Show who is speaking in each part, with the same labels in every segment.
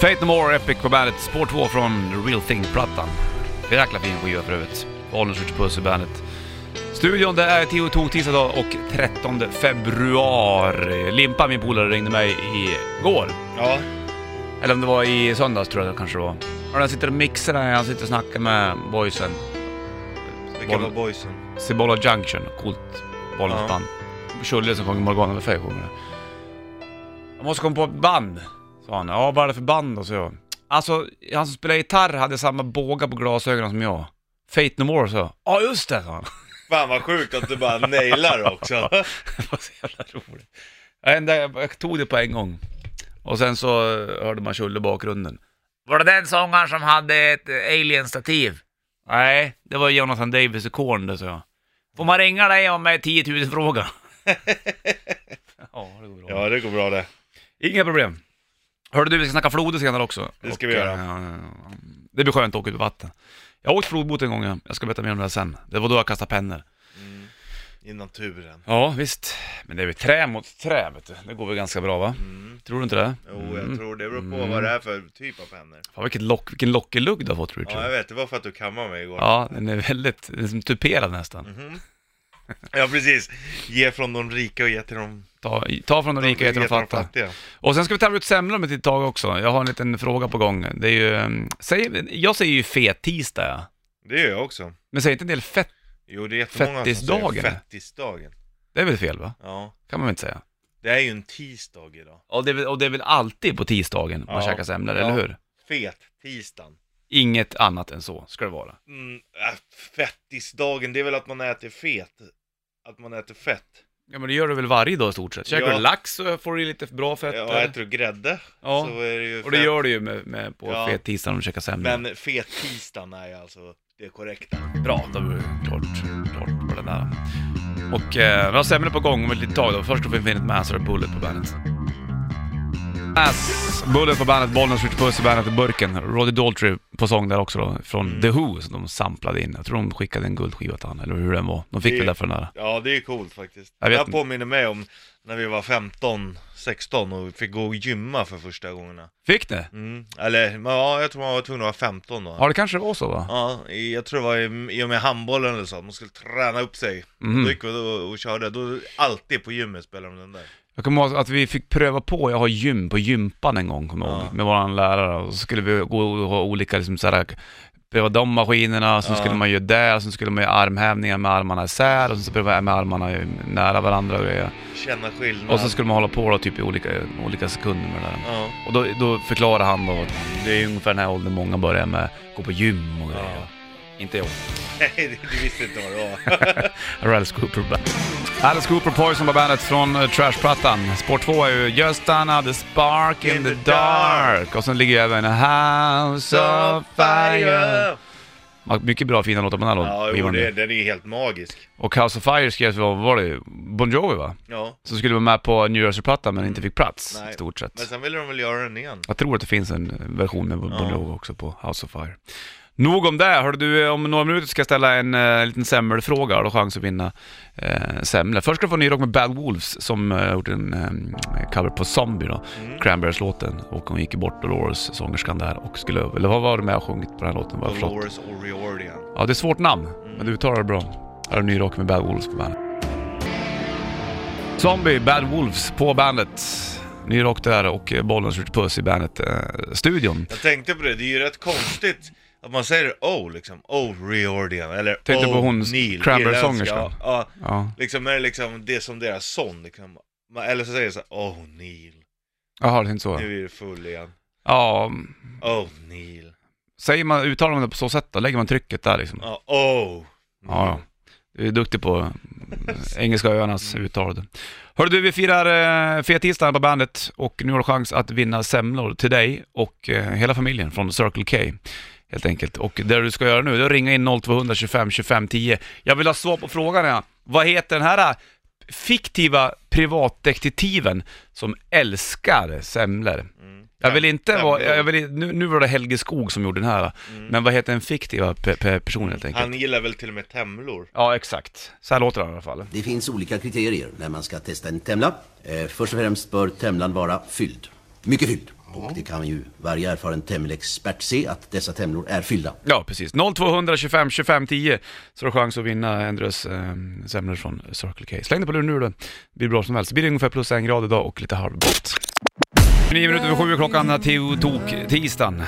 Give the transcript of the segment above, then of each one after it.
Speaker 1: Fate No More Epic på bandet, spår 2 från The Real Thing-plattan. Jäkla fin skiva för övrigt. Bollnäs skjuter puss i bandet. Studion det är Tio Tok tisdag dag och 13 februari. Limpa min polare ringde mig igår.
Speaker 2: Ja.
Speaker 1: Eller om det var i söndags tror jag det kanske det var. Och han sitter och mixar, där, han sitter och snackar med boysen.
Speaker 2: Vilka var
Speaker 1: Boll-
Speaker 2: boysen?
Speaker 1: Cibola Junction, coolt
Speaker 2: Ja.
Speaker 1: Bollnäsband. Schulle som sjunger Morgana Le Fay sjunger det. Jag måste komma på ett band, sa han. Ja, vad är det för band då, så jag. Alltså, han som spelade gitarr hade samma båga på glasögonen som jag. Fate No More, så jag. Ja, just det, sa han.
Speaker 2: Fan vad sjukt att du bara nailar också.
Speaker 1: det var så jävla roligt. Jag, enda, jag tog det på en gång. Och sen så eh, hörde man Schulle i bakgrunden. Var det den sångaren som hade ett eh, alien-stativ? Nej, det var Jonathan Davis i Korn det, sa jag. Får man ringa dig om eh, 10 000 frågor? ja, det går bra.
Speaker 2: Ja, det går bra det.
Speaker 1: Inga problem. Hörde du, vi ska snacka floder senare också.
Speaker 2: Det ska vi göra.
Speaker 1: eh, ja, ja, ja. det blir skönt att åka ut på vatten. Jag har åkt flodbåt en gång, ja. jag ska berätta mer om det här sen. Det var då jag kastade pennor.
Speaker 2: I naturen.
Speaker 1: Ja, visst. Men det är väl trä mot trä, vet du. Det går väl ganska bra, va? Tror du inte det?
Speaker 2: Jo, jag
Speaker 1: Mm.
Speaker 2: tror det beror på vad det är för typ av pennor.
Speaker 1: Fan, vilket lock, vilken lockelugg du har fått, Richard.
Speaker 2: Ja, jag vet. Det var för att du kammade mig igår. Mhm.
Speaker 1: Ja, den är Mm. väldigt, den är som tuperad nästan.
Speaker 2: Ja, precis. Ge från de rika och ge till de,
Speaker 1: Ta, ta från de rika och ge till de fattiga. Och sen ska vi tävla ut semlor om ett litet tag också. Jag har en liten fråga på gång. Det är ju, ehm, säg, jag säger ju fet-tisdag, ja.
Speaker 2: Det gör jag också.
Speaker 1: Men säg inte en del fett,
Speaker 2: Jo, det är jättemånga som
Speaker 1: Fettisdagen.
Speaker 2: säger fettisdagen.
Speaker 1: det är väl fel va?
Speaker 2: Ja.
Speaker 1: Kan man väl inte säga?
Speaker 2: Det är ju en tisdag idag.
Speaker 1: Och det är väl, och det är väl alltid på tisdagen man
Speaker 2: Ja.
Speaker 1: käkar semlor,
Speaker 2: Ja.
Speaker 1: eller hur?
Speaker 2: Fet tisdagen.
Speaker 1: Inget annat än så ska det vara.
Speaker 2: Mm, äh, fettisdagen, det är väl att man äter fet. Att man äter fett.
Speaker 1: Ja men det gör du väl varje dag i stort sett? Käkar
Speaker 2: Ja.
Speaker 1: du lax så får du lite bra fett.
Speaker 2: Ja,
Speaker 1: där.
Speaker 2: äter du grädde
Speaker 1: Ja.
Speaker 2: så är det ju
Speaker 1: Och det
Speaker 2: fett.
Speaker 1: gör du ju med, med på
Speaker 2: Ja.
Speaker 1: fet tisdag när du käkar semlor.
Speaker 2: Men fettisdagen är ju alltså det korrekta.
Speaker 1: Bra, då var det klart, klart på den där. Och eh, vi har semlor på gång om ett litet tag då. Först då får vi Infinite Mass och Bullet på bandet. Mass, Bullet på bandet, Bollnäs skjuter puss i bandet i burken. Roddy Daltrey på sång där också då, från
Speaker 2: Mm.
Speaker 1: The Who som de samplade in. Jag tror de skickade en guldskiva till han, eller hur den var. De fick
Speaker 2: Det-
Speaker 1: väl det för den där.
Speaker 2: Ja, det är coolt faktiskt.
Speaker 1: Jag
Speaker 2: Jag
Speaker 1: vet
Speaker 2: det här
Speaker 1: inte.
Speaker 2: påminner mig om när vi var 15, 16 och fick gå och gymma för första gångerna.
Speaker 1: Fick ni?
Speaker 2: Mm. Eller, ja, jag tror man var tvungen att vara 15 då.
Speaker 1: Ja, det kanske var så va?
Speaker 2: Ja, i- jag tror det var i, i och med handbollen eller så, att man skulle träna upp sig.
Speaker 1: Mhm. Mm.
Speaker 2: Då gick vi och, och körde, då alltid på gymmet spelade de den där.
Speaker 1: Jag kommer ihåg att vi fick pröva på, jag har gym på gympan en gång kommer jag ihåg,
Speaker 2: Ja.
Speaker 1: med våran lärare. Och så skulle vi gå och ha olika, liksom så här, pröva de maskinerna, sen
Speaker 2: Ja.
Speaker 1: skulle man göra det, sen skulle man göra armhävningar med armarna isär, och sen så pröva med armarna nära varandra och grejer.
Speaker 2: Känna skillnad.
Speaker 1: Och så skulle man hålla på då, typ i olika, olika sekunder med det där.
Speaker 2: Ja.
Speaker 1: Och då, då förklarar han då att det är ungefär den här åldern många börjar med, gå på gym och grejer. Inte jag.
Speaker 2: Nej, det- du visste inte vad det var.
Speaker 1: Alice Cooper Band. Alice Cooper Poison var bandet från eh, Trash-plattan. Spår 2 är ju Just another spark in,
Speaker 2: In
Speaker 1: the,
Speaker 2: the
Speaker 1: dark. Och sen ligger ju även A House of Fire. Ja, Mycket bra fina låtar på den här
Speaker 2: Ja,
Speaker 1: låten.
Speaker 2: jo,
Speaker 1: skivan.
Speaker 2: det, den är ju helt magisk.
Speaker 1: Och House of Fire skrevs av, vad var det? Bon Jovi va?
Speaker 2: Ja,
Speaker 1: Som skulle vara med på New Jersey-plattan men inte fick plats
Speaker 2: Nej.
Speaker 1: i stort sett.
Speaker 2: men sen ville de väl göra den igen.
Speaker 1: Jag tror att det finns en version med Bon
Speaker 2: Ja.
Speaker 1: Jovi också på House of Fire. Nog om det. Hörde du, eh, om några minuter ska jag ställa en eh, liten semmelfråga. Har du chans att vinna eh, semlor. Först ska du få en ny rock med Bad Wolves som eh, gjort en eh, cover på Zombie då.
Speaker 2: Mm.
Speaker 1: Cranberries-låten. Och hon gick ju bort, Dolores, sångerskan där. Och skulle, eller vad var det med och sjungit på den här låten? Vad jag förstått?
Speaker 2: Dolores O'Riordan.
Speaker 1: Ja, det är ett svårt namn, men du uttalar det bra. Här är ny rock med Bad Wolves på bandet. Zombie, Bad Wolves på bandet. Ny rock där och eh, bollen skjuter puss i eh, bandet-studion.
Speaker 2: Jag tänkte på det, det är ju rätt konstigt att man säger O liksom, O'Riordan eller
Speaker 1: Tänkte på hon,
Speaker 2: O'Neill,
Speaker 1: Cranberry-sångerskan.
Speaker 2: irländska. Ja,
Speaker 1: ja.
Speaker 2: liksom är det liksom det som deras sång liksom. Man- Eller så säger jag så här, O'Neill,
Speaker 1: Jaha, det är inte så.
Speaker 2: nu är du full igen.
Speaker 1: Ja,
Speaker 2: O'Neill,
Speaker 1: säger man, uttalar man det på så sätt då? Lägger man trycket där liksom?
Speaker 2: ja, O.
Speaker 1: Ja, ja. Du är duktig på eh, Engelska öarnas uttal. Hörru du, vi firar eh, fettisdagen på bandet och nu har du chans att vinna semlor till dig och eh, hela familjen från Circle K. Helt enkelt. Och det du ska göra nu, det är att ringa in 0200 25 25 10. Jag vill ha svar på frågan här. Vad heter den här eh, fiktiva privatdetektiven som älskar semlor? Jag vill inte vara, jag vill, nu, nu var det Helge Skog som gjorde den här, men vad heter den fiktiva pe, pe, personen helt enkelt?
Speaker 2: Han gillar väl till och med temlor.
Speaker 1: Ja, exakt. Så här låter den i alla fall.
Speaker 3: Det finns olika kriterier när man ska testa en temla. Eh, först och främst bör temlan vara fylld. Mycket fylld. Och det kan ju varje erfaren temmelexpert se att dessa temlor är fyllda.
Speaker 1: Ja, precis. 0200 25 25 10 så har du chans att vinna en drös eh, semlor från Circle K. Släng dig på luren nu då. Det blir bra som helst. Det blir ungefär plus en grad idag och lite halvblått. Nio minuter över sju är klockan till tok tisdagen.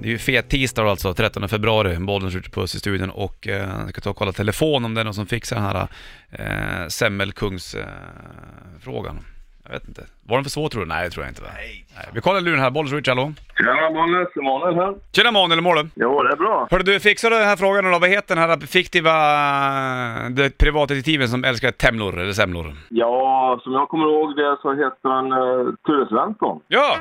Speaker 1: Det är ju fet tisdag då alltså, 13 februari. Bollen skjuter puss i studion och eh, jag ska ta och kolla telefon om det är någon som fixar den här eh, semmelkungsfrågan. Eh, frågan. jag vet inte. Var den för svår tror du? Nej, det tror jag inte. Va?
Speaker 2: Nej.
Speaker 1: Nej. Vi kollar luren här. Bollen skjuter, hallå?
Speaker 4: Tjena Bollnäs, Emanuel här.
Speaker 1: Tjena Manuel, hur mår du?
Speaker 4: Jo, det är bra.
Speaker 1: Hörru du, fixar du den här frågan då? Vad heter den här fiktiva eh, det privatdetektiven som älskar temlor eller semlor?
Speaker 4: Ja, som jag kommer ihåg det så heter han eh, Ture Svensson.
Speaker 1: Ja!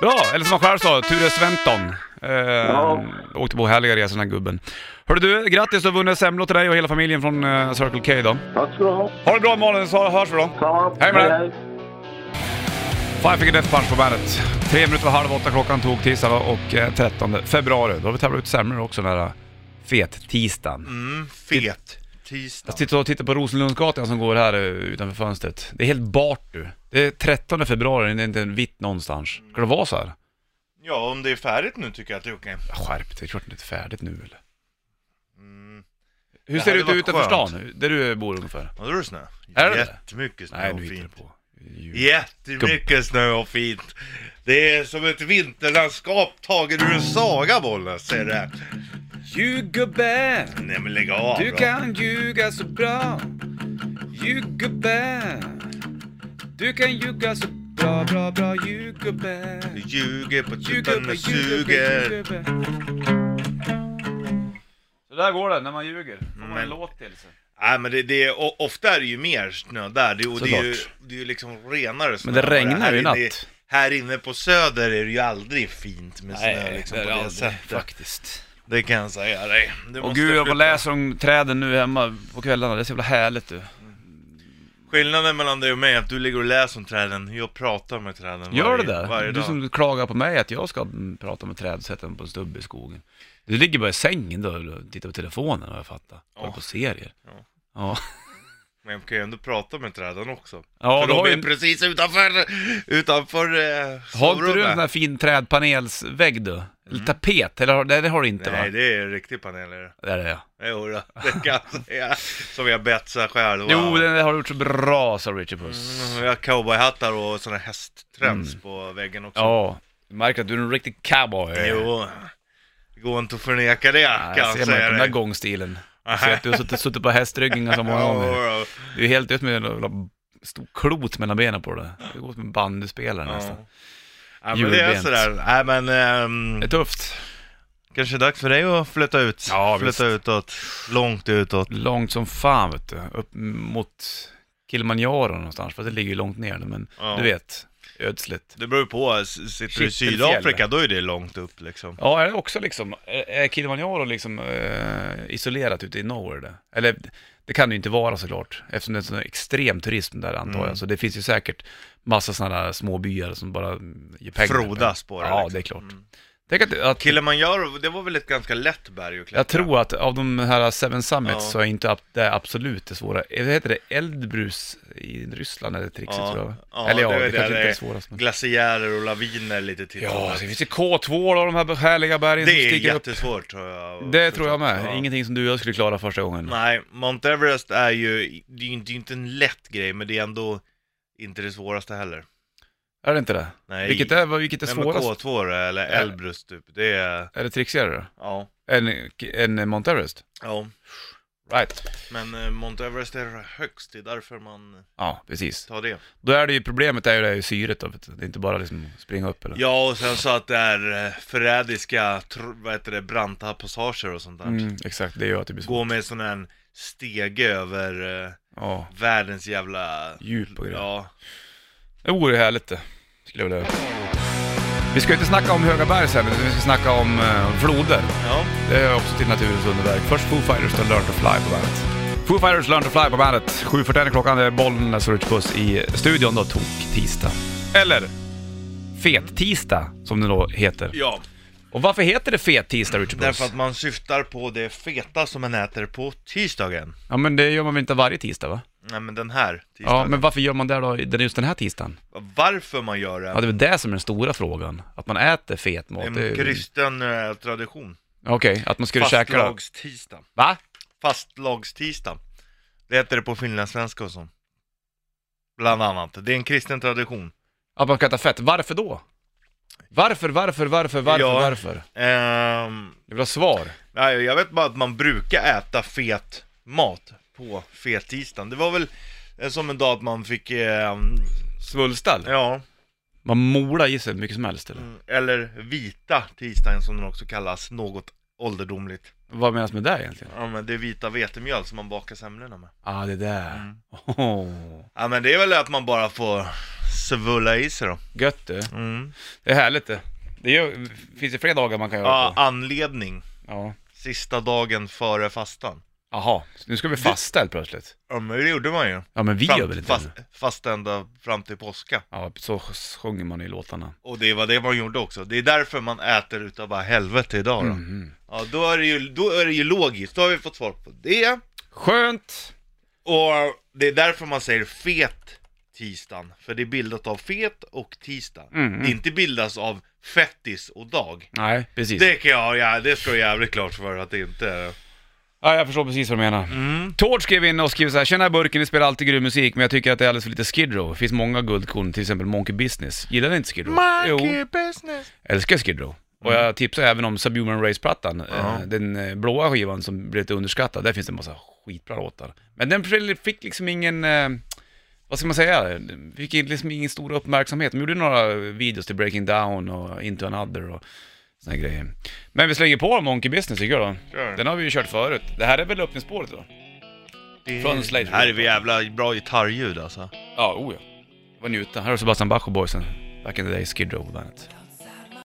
Speaker 1: Bra! Eller som han själv sa, Ture Sventon. Eh,
Speaker 4: Ja.
Speaker 1: Åkte på härliga resor den här gubben. Hörru du, grattis! Du har vunnit semlor till dig och hela familjen från eh, Circle K då.
Speaker 4: Tack ska du ha.
Speaker 1: Ha det bra Malin, så hörs vi då.
Speaker 4: Samma.
Speaker 1: Hej med dig. Five Finger Death Punch på bandet. Tre minuter var halv åtta klockan tog tisdag va? och eh, 13 februari. Då har vi tävlat ut semlor också den här eh, fet-tisdagen.
Speaker 2: Mm, fet tisdag.
Speaker 1: Jag sitter och tittar på Rosenlundsgatan som går här eh, utanför fönstret. Det är helt bart du. Det är 13 februari, det är inte en vitt någonstans. Ska det vara så här?
Speaker 2: Ja, om det är färdigt nu tycker jag att det är okej.
Speaker 1: Skärp dig, klart det inte är färdigt nu eller?
Speaker 2: Mm.
Speaker 1: Hur
Speaker 2: Det
Speaker 1: ser det
Speaker 2: hade
Speaker 1: ut
Speaker 2: varit
Speaker 1: utanför
Speaker 2: skönt.
Speaker 1: stan, där du bor ungefär?
Speaker 2: Vad är det snö?
Speaker 1: Är det det?
Speaker 2: Jättemycket snö
Speaker 1: Nej,
Speaker 2: och
Speaker 1: nu hittar du
Speaker 2: fint.
Speaker 1: på. Jul.
Speaker 2: Jättemycket snö och fint. Det är som ett vinterlandskap taget ur en saga Bollnäs, säger det. här.
Speaker 1: Ljugubbe,
Speaker 2: Nej men lägg av
Speaker 1: du
Speaker 2: då.
Speaker 1: kan ljuga så bra. Ljugubbe, du kan ljuga så bra, bra, bra. Ljugubbe,
Speaker 2: Du ljuger på tutan
Speaker 1: ljugubbe,
Speaker 2: och
Speaker 1: ljugubbe,
Speaker 2: suger.
Speaker 1: ljugubbe. Så där går det när man ljuger. Får man en
Speaker 2: Men-
Speaker 1: låt till sig.
Speaker 2: Nej men det, det är, o- ofta är det ju mer snö där. Det, och det är ju,
Speaker 1: Såklart.
Speaker 2: det är ju liksom renare snö.
Speaker 1: det
Speaker 2: bara.
Speaker 1: regnar
Speaker 2: Här
Speaker 1: ju i
Speaker 2: inne-
Speaker 1: natt.
Speaker 2: Här inne på söder är det ju aldrig fint med snö liksom, på det sättet.
Speaker 1: faktiskt.
Speaker 2: Det kan jag säga dig. Du
Speaker 1: Och
Speaker 2: måste
Speaker 1: gud,
Speaker 2: flytta.
Speaker 1: jag läser om träden nu hemma på kvällarna. Det är så jävla härligt du.
Speaker 2: Skillnaden mellan dig och mig är att du ligger och läser om träden, jag pratar med träden
Speaker 1: Gör
Speaker 2: varje,
Speaker 1: det det?
Speaker 2: varje
Speaker 1: Du
Speaker 2: dag.
Speaker 1: som klagar på mig att jag ska mm, prata med träd och sätta mig på en stubbe i skogen. Du ligger bara i sängen då och tittar på telefonen har jag fattat. Kollar
Speaker 2: Ja.
Speaker 1: på serier.
Speaker 2: Ja.
Speaker 1: Ja.
Speaker 2: Men jag kan ju ändå prata med träden också.
Speaker 1: Ja,
Speaker 2: För
Speaker 1: du har
Speaker 2: de är
Speaker 1: ju-
Speaker 2: precis utanför, utanför eh,
Speaker 1: Har inte du en
Speaker 2: sovrummet. Mm.
Speaker 1: sån här fin trädpanelsvägg du? Eller tapet? Eller har, nej, det har du inte
Speaker 2: Nej,
Speaker 1: va?
Speaker 2: det är en riktig panel är det.
Speaker 1: Det är det ja.
Speaker 2: Jo, då, det kan jag säga. Som jag betsar själv. Wow.
Speaker 1: Jo, det har du gjort så bra sa Richard Puss.
Speaker 2: Mm, Jag har cowboyhattar och såna hästträns på väggen också.
Speaker 1: Mm. Ja, du märker att du är en riktig cowboy.
Speaker 2: Jo, det går inte att förneka det
Speaker 1: Ja,
Speaker 2: kan
Speaker 1: jag
Speaker 2: jag
Speaker 1: ser man
Speaker 2: säga
Speaker 1: inte den där
Speaker 2: dig.
Speaker 1: gångstilen. Jag ser att du har suttit, suttit på hästryggen ganska många gånger.
Speaker 2: Ja,
Speaker 1: Du är helt ut med en jävla stor klot mellan benen på det. Det går som en bandyspelare
Speaker 2: ja.
Speaker 1: nästan.
Speaker 2: Ja, men det är
Speaker 1: Julbent.
Speaker 2: sådär. Nej, men ehm,
Speaker 1: Det är tufft.
Speaker 2: kanske är dags för dig att flytta ut.
Speaker 1: Ja,
Speaker 2: flytta utåt. Långt utåt.
Speaker 1: Långt som fan vet du. Upp mot Kilimanjaro någonstans, för det ligger ju långt ner nu, men
Speaker 2: Ja.
Speaker 1: du vet, ödsligt.
Speaker 2: Det beror ju på, S- sitter du i
Speaker 1: Kittelfjäll.
Speaker 2: Sydafrika då är det långt upp liksom.
Speaker 1: Ja, är det också liksom, är- är Kilimanjaro liksom eh, isolerat ute i nowhere där? Eller det kan det ju inte vara såklart, eftersom det är en sån extrem turism där antar
Speaker 2: Mm.
Speaker 1: jag. Så det finns ju säkert massa sådana där små byar som bara mm, ger pengar.
Speaker 2: Frodas på det,
Speaker 1: Ja,
Speaker 2: liksom.
Speaker 1: det är klart. Tänk att, att
Speaker 2: Kilimanjaro, det var väl ett ganska lätt berg att klättra?
Speaker 1: Jag tror att av de här Seven Summits
Speaker 2: Ja.
Speaker 1: så är inte ab- det absolut det svåra. Eh, Vad heter det? Eldbrus i Ryssland är det trixet
Speaker 2: Ja.
Speaker 1: tror jag.
Speaker 2: Ja,
Speaker 1: Eller ja,
Speaker 2: det
Speaker 1: det,
Speaker 2: är det
Speaker 1: kanske inte
Speaker 2: där
Speaker 1: är
Speaker 2: det-
Speaker 1: svårast. Men...
Speaker 2: Glaciärer och laviner lite till.
Speaker 1: Ja, det finns ju K2 då, de här härliga bergen
Speaker 2: Det
Speaker 1: som
Speaker 2: är
Speaker 1: sticker upp.
Speaker 2: jättesvårt tror jag.
Speaker 1: Det tror jag med.
Speaker 2: Ja.
Speaker 1: Ingenting som du och jag skulle klara första gången.
Speaker 2: Nej, Mount Everest är ju, det är ju inte- det är inte en lätt grej, men det är ändå inte det svåraste heller.
Speaker 1: Är det inte det?
Speaker 2: Nej.
Speaker 1: Vilket är, Äh. vad- vilket är
Speaker 2: Nej, men
Speaker 1: svårast?
Speaker 2: K2 då, eller Elbrus typ, det är,
Speaker 1: Är det trixigare då?
Speaker 2: ja.
Speaker 1: Än, än Mount Everest?
Speaker 2: Ja,
Speaker 1: Right.
Speaker 2: men eh, Mount Everest är högst, det är därför man
Speaker 1: Ja, precis.
Speaker 2: tar det.
Speaker 1: Då är det ju problemet är ju det här syret då, vet du. Det är inte bara liksom springa upp eller?
Speaker 2: Ja, och sen så att det är eh, förrädiska, tr- vad heter det, branta passager och sånt där.
Speaker 1: Mm, exakt, det gör att det blir svårt.
Speaker 2: Gå med sån här stege över eh,
Speaker 1: Ja,
Speaker 2: världens jävla...
Speaker 1: djup och grejer.
Speaker 2: Ja,
Speaker 1: Det vore härligt det, skulle jag vilja Vi ska ju inte snacka om höga berg sen, utan vi ska snacka om eh, floder.
Speaker 2: ja.
Speaker 1: Det hör också till naturens underverk. Först Foo Fighters, då Learn to Fly på bandet. Foo Fighters, Learn to Fly på bandet. 7.41 är klockan, det är Bollnäs och Rich Puss i studion då, tok-tisdag. Eller Fet-tisdag, som det då heter.
Speaker 2: ja.
Speaker 1: Och varför heter det Fet-tisdag, Rich Puss?
Speaker 2: Därför att man syftar på det feta som man äter på tisdagen.
Speaker 1: Ja men det gör man väl inte varje tisdag va?
Speaker 2: Nej men den här tisdagen.
Speaker 1: Ja, men varför gör man det då den- just den här tisdagen?
Speaker 2: Varför man gör
Speaker 1: Ja,
Speaker 2: det?
Speaker 1: det är väl det som är den stora frågan. Att man äter fet mat.
Speaker 2: En
Speaker 1: det är ju-
Speaker 2: kristen eh, tradition.
Speaker 1: Okej, att man skulle käka det.
Speaker 2: Fastlagstisdag.
Speaker 1: Va?
Speaker 2: Fastlagstisdag. Det heter det på finlandssvenska och så. Bland annat. Det är en kristen tradition.
Speaker 1: Att man ska äta fett. Varför då? Varför, varför, varför, varför,
Speaker 2: Ja.
Speaker 1: varför?
Speaker 2: Ehm,
Speaker 1: Jag vill ha svar.
Speaker 2: nej, jag vet bara att man brukar äta fet mat på fettisdagen. Det var väl eh, som en dag att man fick, ehm,
Speaker 1: Svullstall?
Speaker 2: ja,
Speaker 1: Man molar i sig hur mycket som helst eller?
Speaker 2: mm, eller vita tisdagen som den också kallas, något ålderdomligt.
Speaker 1: Vad menas med det egentligen?
Speaker 2: Ja men det är vita vetemjöl som man bakar semlorna med.
Speaker 1: Ah, det där. Oh,
Speaker 2: Mm.
Speaker 1: Åh.
Speaker 2: Ja men det är väl att man bara får svulla i sig då.
Speaker 1: Gött du.
Speaker 2: Mm.
Speaker 1: Det är härligt det. Det gör, finns ju fler dagar man kan göra
Speaker 2: Ja,
Speaker 1: på.
Speaker 2: anledning.
Speaker 1: Ja.
Speaker 2: Sista dagen före fastan.
Speaker 1: Jaha, så nu ska vi fasta helt plötsligt.
Speaker 2: Ja men det gjorde man ju.
Speaker 1: Ja men vi gör väl inte
Speaker 2: fast,
Speaker 1: det?
Speaker 2: fast ända fram till påska.
Speaker 1: Ja, så sjunger man i låtarna.
Speaker 2: Och det var det man gjorde också. Det är därför man äter utav bara helvete idag då.
Speaker 1: Mhm.
Speaker 2: Ja, då är, det ju, då är det ju logiskt. Då har vi fått svar på det.
Speaker 1: Skönt!
Speaker 2: Och det är därför man säger fet tisdagen. För det är bildat av fet och tisdag.
Speaker 1: Mm.
Speaker 2: Det är inte bildas av fettis och dag.
Speaker 1: Nej, precis.
Speaker 2: Det kan jag, ja, det ska jag jävligt klart för att det inte är.
Speaker 1: Ja, jag förstår precis vad du
Speaker 2: Mm.
Speaker 1: menar. Tord skrev in och skrev så här, “Tjena Burken, ni spelar alltid grym musik, men jag tycker att det är alldeles för lite Skid Row. Det finns många guldkorn, till exempel Monkey Business. Gillar ni inte Skid Row? Jo,
Speaker 2: business.
Speaker 1: älskar Skid Row. Och jag tipsar även om Subhuman Race-plattan, eh, den eh, blåa skivan som blev lite underskattad. Där finns det en massa skitbra låtar. Men den fick liksom ingen, eh, vad ska man säga, Den fick liksom ingen stor uppmärksamhet. De gjorde några videos till Breaking Down och Into Another och såna här grejer. Men vi slänger på Monkey Business tycker jag då.
Speaker 2: Kör.
Speaker 1: Den har vi ju kört förut. Det här är väl öppningsspåret då? Från Slade.
Speaker 2: Här är vi jävla bra gitarrljud alltså.
Speaker 1: Ja, oh ja. Det var njuta. Här har Sebastian Bach och boysen. Back in the day, Skid Row på bandet.